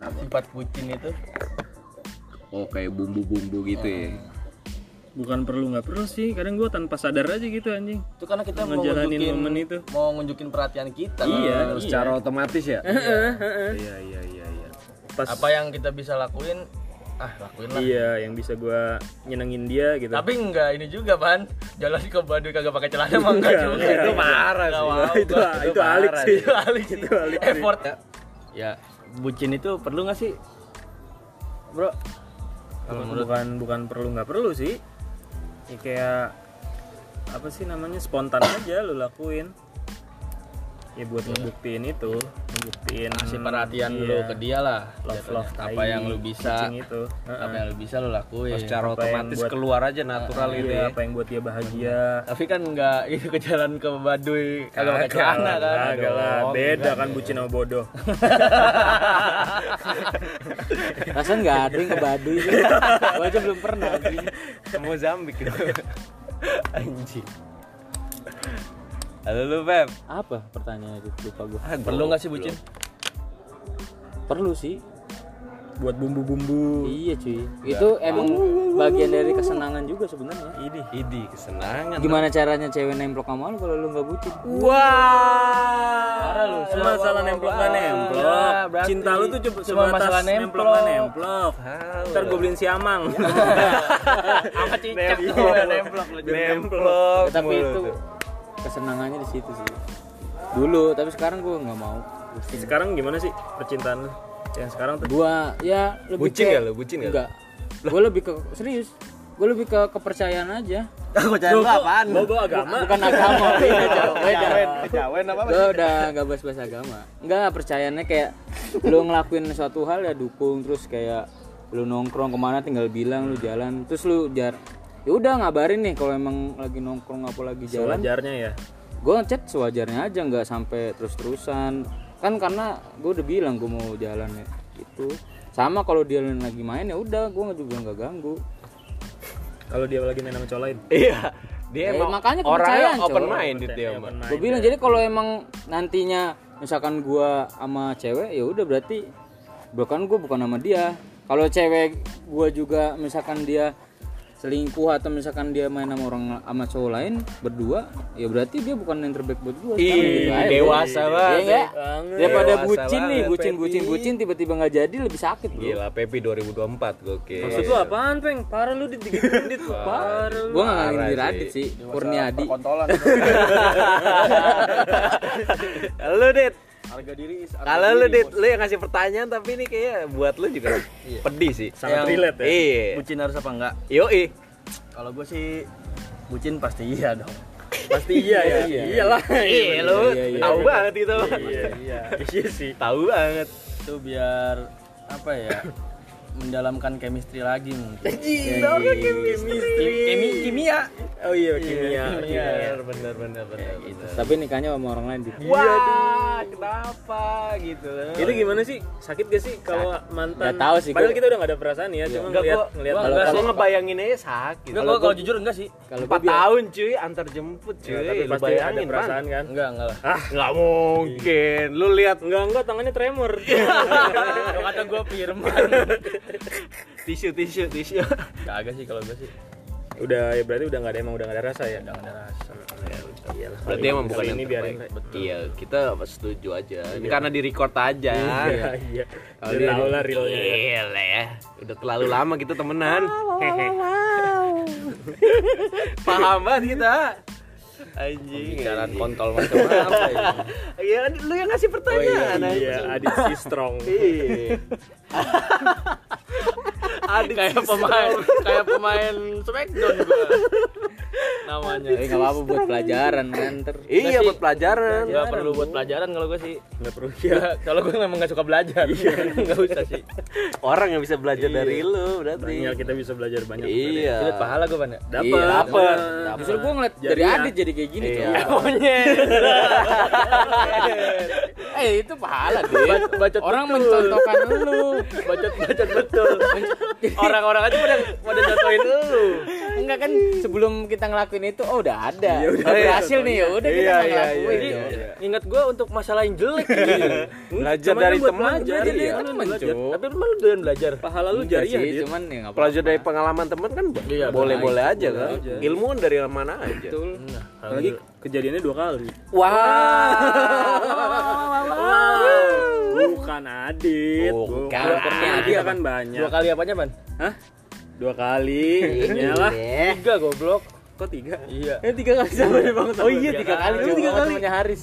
S3: sifat bucin itu?
S5: Oh, kayak bumbu-bumbu gitu ya.
S2: Bukan perlu nggak perlu sih, kadang gua tanpa sadar aja gitu anjing.
S3: Itu karena kita mau
S2: Ngejalanin
S3: nunjukin,
S2: momen itu.
S3: mau nunjukin perhatian kita.
S2: Iya, iya.
S5: Secara otomatis ya. Iya, iya, iya, iya.
S2: Pas
S3: Apa yang kita bisa lakuin, ah lakuin lah.
S2: Iya, yang bisa gua nyenengin dia gitu.
S3: Tapi enggak ini juga pan, jalan ke Baduy kagak pakai celana mah enggak
S2: Enggak,
S3: juga.
S2: enggak,
S3: Itu
S2: Iya, enggak.
S3: marah sih.
S2: itu itu alik sih.
S3: Itu alik sih.
S2: Itu alik sih.
S3: Effort. Ya, bucin itu perlu nggak sih?
S2: Bro, bukan bukan perlu nggak perlu sih. Ya kayak apa sih namanya spontan aja lu lakuin. ya buat ngebuktiin itu ngebuktiin
S3: kasih perhatian lu
S2: iya.
S3: ke dia lah
S2: love
S3: jatuhnya.
S2: love
S3: apa
S2: tai
S3: yang lu bisa
S2: kucing itu Heeh.
S3: apa yang lu bisa lu lakuin
S1: secara
S2: Apa yang
S1: otomatis
S2: buat-
S1: keluar aja natural
S2: Iya,
S1: gitu ya
S2: apa yang buat dia bahagia
S3: tapi kan nggak itu ke jalan ke Baduy kalau ke
S2: Kagak
S3: celana
S2: lah,
S3: kan
S2: kagak lah.
S3: Aduh,
S2: beda kan bucin sama bodoh
S4: Rasanya nggak ada yang ke Baduy sih. Gua aja belum pernah. anjing.
S3: Mozambik gitu anjing halo lu Feb
S4: Apa pertanyaan itu lupa gua.
S3: kan. perlu nggak sih bucin
S4: Perlu sih.
S2: buat bumbu-bumbu
S4: Iya cuy. Itu emang bagian dari kesenangan juga sebenarnya.
S3: ini ini kesenangan
S4: Gimana caranya cewek nemplok sama lu kalau lu nggak bucin?
S3: Wah,
S2: Cuma masalah nemplok nggak nemplok cinta lu tuh cuma
S3: cuma
S2: sebatas
S3: masalah
S2: nemplok
S3: nemplok.
S2: nggak nemplok ntar gue beliin siamang
S3: Apa cicak
S2: Nemplok.
S3: tuh ya, nemplok lu juga.
S1: nemplok
S4: tapi itu kesenangannya di situ sih. Dulu, tapi sekarang gua nggak mau. Bucin.
S2: sekarang gimana sih percintaan lu yang sekarang tuh
S4: Gua ya lebih
S1: Bucin
S4: ke-
S1: nggak lu? Bucin nggak lu?
S4: Nggak. Gua lebih ke serius. Gua lebih ke kepercayaan aja.
S3: Aku cari lu apaan?
S2: bobo agama
S4: Bukan agama, beda jauh. Beda.
S3: Kejawen apa?
S4: Gue udah nggak bahas-bahas agama. Enggak, percayaannya kayak lu ngelakuin suatu hal ya dukung terus kayak lu nongkrong kemana tinggal bilang lu jalan terus lu jar ya udah ngabarin nih kalau emang lagi nongkrong apa lagi jalan
S2: wajarnya ya
S4: gue ngechat sewajarnya aja nggak sampai terus terusan kan karena gue udah bilang gue mau jalan ya itu sama kalau dia lagi main ya udah gue juga nggak ganggu
S2: kalau dia lagi main sama cowok lain
S1: iya dia
S4: Eh,
S1: emang
S4: makanya
S1: orangnya
S4: kepercayaan,
S1: open gitu ya,
S4: coy.
S1: minded dia mah
S2: Main.
S4: gue
S3: ya.
S4: bilang jadi kalau emang nantinya misalkan gue sama cewek ya udah berarti bukan gue bukan sama dia kalau cewek gue juga misalkan dia selingkuh atau misalkan dia main sama orang sama cowok lain berdua ya berarti dia bukan yang terbaik buat gue
S1: Ih, dewasa
S4: Iya
S1: banget.
S4: enggak? Daripada
S1: Dewasa
S4: bucin nih,
S1: banget,
S4: bucin bucin
S1: Pepi.
S4: bucin tiba-tiba nggak jadi lebih sakit, Bro.
S1: Gila, Pepi 2024 gokil.
S2: Maksud lu apaan, Peng? Parah lu di 3 menit, Iya. parah lu.
S4: Gua enggak
S1: Parah sih.
S4: ngalahin Radit sih, Kurniadi.
S3: Kontolan.
S1: Lu, Dit.
S3: Harga diri is
S1: Kalau lu, Dit, lu yang ngasih pertanyaan tapi ini kayak buat lu juga pedih sih.
S2: Sangat
S1: Yang-
S2: relate ya?
S1: Iya.
S3: bucin harus apa enggak?
S1: Yoi.
S3: Kalau gue sih bucin pasti iya dong.
S2: Pasti iya ya. Iyalah.
S1: Iya, lu
S4: iya, iya.
S1: tahu banget gitu.
S3: Iya.
S2: Iya sih.
S1: Tahu banget.
S3: Itu biar apa ya? mendalamkan chemistry lagi mungkin. Iya, Kimi, ya? kimia.
S2: Oh iya, kimia.
S3: Kimia.
S1: benar benar benar.
S4: Tapi nikahnya sama orang lain
S3: Iya,
S5: Iya,
S4: Dit.
S1: Wah, kenapa gitu loh.
S2: Itu gimana sih? Sakit gak sih kalau mantan?
S4: Nggak tahu sih,
S2: Padahal
S4: gua-
S2: kita udah gak ada perasaan ya, cuma
S1: Enggak
S2: ngeliat
S1: gua
S2: ngeliat
S1: gua
S2: orang.
S1: enggak gua ngebayangin aja sakit.
S3: Enggak, gua kalau jujur enggak sih.
S4: Kalau gua
S1: Empat
S4: biar-
S1: tahun cuy antar jemput cuy.
S2: Ya, tapi
S1: Lu
S2: pasti ada
S1: bayangin Pan.
S2: perasaan kan?
S3: Enggak, enggak lah.
S1: Ah, nggak mungkin. Lu lihat
S2: Enggak, enggak, tangannya tremor.
S3: Kalau kata gue firman.
S1: tisu tisu tisu.
S3: Kagak sih kalau gue sih.
S2: udah ya berarti udah nggak ada emang udah nggak ada rasa ya.
S3: Enggak ada rasa.
S2: Iyalah.
S1: Berarti emang bukan Iya, yang
S2: gitu. ini biarin.
S1: terbaik. Iya, kita setuju aja. Ini karena di record aja.
S2: Iya, iya. Udah tahu lah realnya. ya.
S1: Gila ya. Udah terlalu lama kita temenan. Paham banget kita. Anjing.
S3: Jalan kontol macam apa ya?
S1: Iya, kan lu yang ngasih pertanyaan.
S2: Iya, Adit si strong.
S1: Adit
S3: kayak pemain kayak pemain Smackdown gua. Namanya.
S4: Tapi Ya, eh, nggak apa-apa buat pelajaran kan ter.
S1: Iya, buat pelajaran.
S3: Gak perlu buat pelajaran kalau gue sih.
S2: Enggak perlu.
S3: Ya, kalau gue memang gak suka belajar. Enggak usah sih.
S1: Orang yang bisa belajar dari lu
S2: Banyak
S1: berarti.
S2: kita bisa belajar banyak.
S1: Iya.
S3: Silat pahala ya? gue, Bang.
S2: Dapat.
S4: Iya,
S1: Dapet.
S4: Justru gue ngeliat dari
S2: Jadinya.
S4: Adit jadi kayak gini
S1: Iya.
S4: coy. Eh itu pahala deh.
S3: bacot
S4: Orang mencontohkan lu.
S3: Bacot bacot betul. Orang-orang aja pada pada jatuhin lu.
S4: Enggak kan sebelum kita ngelakuin itu oh udah ada. udah berhasil nih ya udah kita
S1: Iya,
S4: nggak
S1: iya,
S4: ngelakuin.
S1: iya,
S4: coy.
S3: Ingat gue untuk masalah yang jelek. Iya.
S1: Belajar
S2: Cuman
S1: dari
S2: buat
S1: teman,
S2: belajar,
S1: dari
S2: iya.
S1: teman,
S2: Belajar.
S1: cuy.
S2: Tapi lu malu doyan belajar. Pahala lu
S4: Enggak
S2: jariah,
S4: sih,
S2: Dit.
S4: cuman ya nggak apa-apa.
S1: Pelajar dari pengalaman temen kan
S3: Iya,
S1: boleh-boleh aja kan. Ilmu kan dari mana aja.
S4: Betul.
S2: Apalagi kejadiannya dua kali. Bukan Adit.
S1: Bukan. Iya,
S2: Pernah Adit kan banyak.
S3: Dua kali apanya, Ban?
S2: Hah? Dua kali.
S1: Iya.
S4: Iya.
S2: Iyalah.
S3: Tiga goblok.
S2: Kok tiga?
S3: Iya.
S4: Eh tiga kali sama dia bang. Oh iya tiga kali.
S3: kali.
S4: Lu tiga
S3: Sama
S4: kali. Temannya Haris.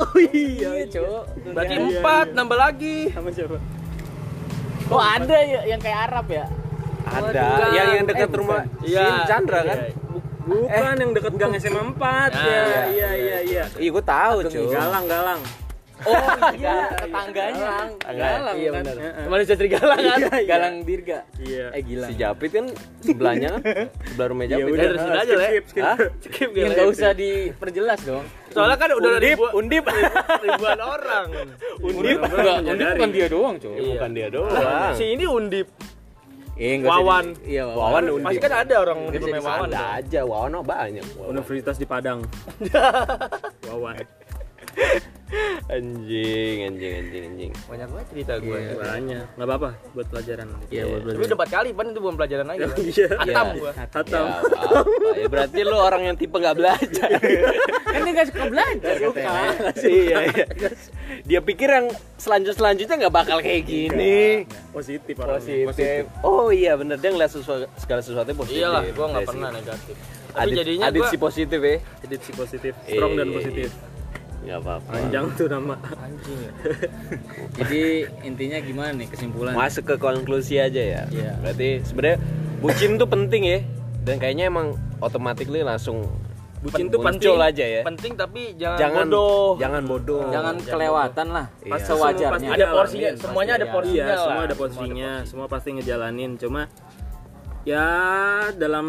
S2: Oh iya.
S4: Iya cowok.
S3: Berarti empat nambah lagi.
S2: Sama siapa?
S4: Oh ada ya yang kayak Arab ya.
S3: Iya.
S1: Ada yang yang dekat rumah Sin Chandra kan?
S3: Bu-
S4: Eh.
S2: Bukan yang deket gang SMA
S4: Nah,
S2: 4 ya. Iya iya iya.
S6: Iya gue tahu cuy.
S2: Galang galang.
S6: Oh iya tetangganya.
S2: Galang.
S6: Iya
S2: kan?
S6: benar.
S2: Heeh.
S6: Teman Jatri Galang kan?
S2: Iya, iya.
S6: Galang Dirga.
S2: Iya.
S6: Eh gila.
S1: Si Japit kan sebelahnya kan, sebelah rumah
S2: Ya
S1: Japit.
S2: udah
S1: Eh,
S2: skip,
S6: aja, Le.
S2: skip, skip.
S6: Hah?
S2: Skip
S6: Iya
S2: Gak
S6: nggak usah diperjelas dong.
S2: Soalnya kan udah
S6: Undip,
S2: ribu-
S6: undip.
S2: ribuan orang.
S6: Undip,
S2: Orang
S6: enggak, undip
S2: menyadari.
S6: bukan dia doang cuy.
S1: bukan dia doang.
S2: Si ini undip.
S6: Iya, nggak usah
S2: Wawan.
S6: di- Iya
S1: Wawan
S6: Wawan.
S1: undip.
S2: Pasti kan ada orang
S6: Nggak
S2: undip
S6: bisa
S2: namanya Wawan.
S1: Ada aja, Wawan mah banyak. Wawan.
S2: Universitas di Padang. Wawan.
S1: Anjing, anjing, anjing, anjing.
S3: banyak banget cerita gue
S2: Iya.
S3: ya.
S2: Banyak. Enggak apa-apa buat pelajaran. Iya, buat
S3: Tapi udah empat kali, pan itu bukan pelajaran lagi. Pan.
S2: Iya.
S3: Atam gue.
S2: Atau
S1: Ya, apa-apa. ya berarti lu orang yang tipe nggak belajar.
S6: Kan dia nggak suka belajar katanya.
S1: iya, iya. Dia pikir yang selanjut selanjutnya nggak bakal kayak gini.
S2: positif orang.
S1: Positif. Oh iya bener dia ngeliat sesuatu, segala sesuatu positif.
S3: Iyalah, gue
S1: Dia
S3: nggak
S1: sih.
S3: pernah negatif. Tapi
S1: Adit,
S3: jadinya
S1: adit
S3: gue
S1: si positif ya.
S2: Edit si positif, strong dan
S1: Eh.
S2: positif.
S1: Nggak apa-apa.
S2: Panjang tuh nama.
S3: anjing ya.
S4: Jadi intinya gimana nih kesimpulan?
S1: Masuk ke konklusi aja ya.
S4: Iya.
S1: Berarti sebenarnya bucin tuh penting ya. Dan kayaknya emang otomatis langsung
S2: Bucin
S1: pen-
S2: tuh
S1: muncul
S2: penting.
S1: aja ya.
S3: Penting tapi jangan,
S1: Jangan
S3: bodoh.
S1: Jangan bodoh.
S6: Jangan kelewatan lah. Pas
S1: Iya.
S6: sewajarnya.
S2: Ada
S3: Ada
S2: porsi.
S3: porsinya, semuanya ada porsinya.
S2: Iya, semua
S3: lah.
S2: ada porsinya, semua pasti ngejalanin. Cuma ya dalam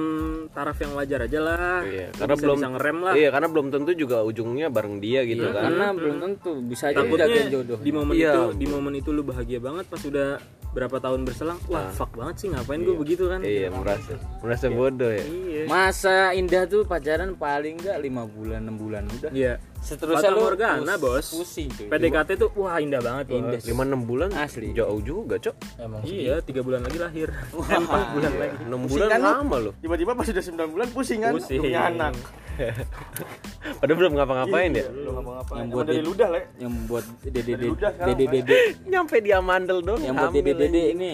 S2: taraf yang wajar aja lah.
S1: Iya,
S2: Lu
S1: karena
S2: bisa-
S1: belum
S2: bisa ngerem lah.
S1: Iya, karena belum tentu juga ujungnya bareng dia gitu kan.
S4: Karena belum tentu bisa aja
S2: Takutnya
S4: jagain jodoh.
S2: di momen
S1: Iya.
S2: itu, di momen itu lu bahagia banget pas udah berapa tahun berselang. Wah, fuck banget sih ngapain gue begitu kan.
S1: Iya, merasa merasa bodoh ya.
S2: Iya.
S4: Masa indah tuh pacaran paling enggak 5 bulan 6 bulan udah.
S2: Iya.
S4: Seterusnya
S2: Fata
S4: lu
S2: Morgana,
S4: pus-
S2: Bos.
S4: Pusing cuy.
S2: PDKT tuh wah indah banget, Bos.
S4: Indah.
S1: Lima enam bulan
S4: Asli.
S1: jauh juga, Cok.
S3: Emang
S2: Iya, tiga bulan lagi lahir. Empat bulan lagi.
S1: Enam bulan lama loh.
S6: Tiba-tiba pas udah 9 bulan pusing kan?
S2: Pusing.
S1: Padahal belum ngapa-ngapain ya.
S3: Iya.
S4: Yang buat dari ludah, Le. Yang buat dede-dede dede-dede
S1: Nyampe dia mandel dong.
S4: yang buat dede-dede ini.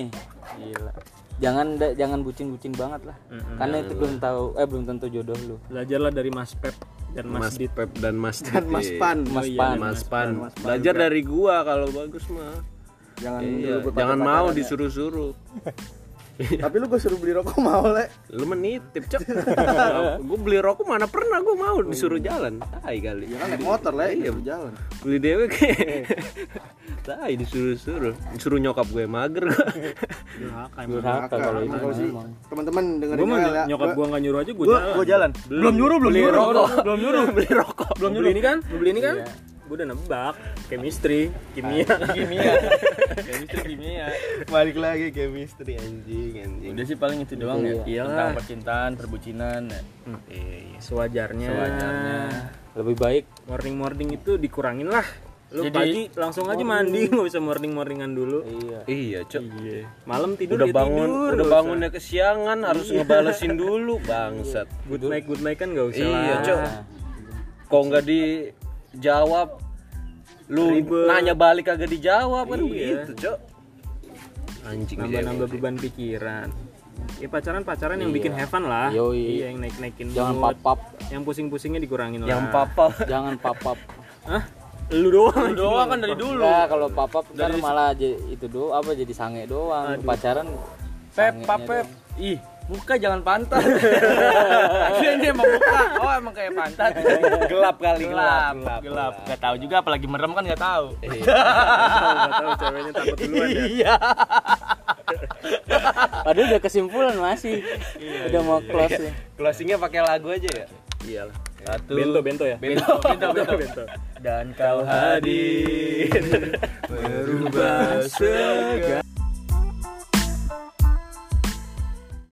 S4: Gila. Jangan da- jangan bucin-bucin banget lah. Karena itu belum tahu eh belum tentu jodoh lu.
S2: Belajarlah dari Mas Pep dan Mas,
S1: Mas
S2: Dit.
S1: Pep dan Mas Dit.
S6: Mas
S1: Iya.
S6: Pan.
S4: Mas
S2: iya,
S4: Pan.
S1: Mas Pan. Belajar dari gua kalau bagus mah.
S6: Jangan
S1: Iya,
S6: dulu
S1: jangan mau disuruh-suruh.
S6: Tapi lu gue suruh beli rokok mau le.
S1: Lu menitip, Cok. gua beli rokok mana pernah gua mau disuruh jalan. Tai kali.
S6: Kan naik motor le, Oh, iya berjalan.
S1: beli dewe kayak tai disuruh-suruh disuruh nyokap gue mager gua.
S4: Durhaka kalau itu.
S6: Kalau sih teman-teman dengerin
S2: Gue mau
S6: ya, Le.
S2: nyokap
S6: Gua-
S2: gua nggak nyuruh aja gue
S6: gua
S2: jalan.
S6: gua jalan. Belum nyuruh, belum nyuruh.
S2: belum nyuruh beli rokok belum nyuruh ini kan Lu beli ini kan gue udah nebak chemistry kimia
S6: Ah.
S3: kimia. Chemistry kimia.
S6: Balik lagi ke misteri anjing anjing.
S3: ya. Udah sih paling itu doang ya. Tentang percintaan, perbucinan. Ya.
S2: sewajarnya
S4: Lebih baik
S2: morning morning itu dikurangin lah lu
S3: Jadi-
S2: pagi langsung aja mandi nggak usah morning morningan dulu
S1: iya cok
S2: malam tidur
S1: udah
S2: ya
S1: bangun
S2: tidur,
S1: udah
S2: nggak
S1: bangunnya kesiangan harus ngebalesin dulu bangsat
S2: usah. good night good night kan nggak usah
S1: iya
S2: lah.
S1: cok kok nggak dijawab lu
S2: Ribet.
S1: nanya balik kagak dijawab kan
S2: Iya.
S1: begitu cok anjing iya,
S2: nambah
S1: dia
S2: nambah beban pikiran ya pacaran pacaran
S1: Iya.
S2: yang bikin have fun lah
S4: Yoi.
S2: iya yang naik naikin
S4: jangan
S2: mood.
S4: papap,
S2: yang pusing pusingnya dikurangin lah
S1: yang papa
S4: jangan papap.
S2: Hah? lu doang
S3: Lu doang kan dari dulu.
S4: Nah, kalau papap ntar malah jadi itu do apa jadi sange doang. Pacaran
S3: Pep,
S4: sangenya
S3: pap, pep. Ih, buka jangan pantat. Akhirnya ini emang buka. Oh, emang kayak pantat.
S1: gelap kali gelap
S3: gelap, gelap. Gak tahu juga apalagi merem kan gak tahu.
S2: nggak tahu ceweknya takut duluan ya
S3: Iya.
S4: Padahal udah kesimpulan masih. udah mau close ya. nih.
S1: closingnya pakai lagu aja ya iyalah
S3: Iya Satu.
S2: bento bento ya
S3: Bento, bento, bento. Dan kau hadir berubah segala.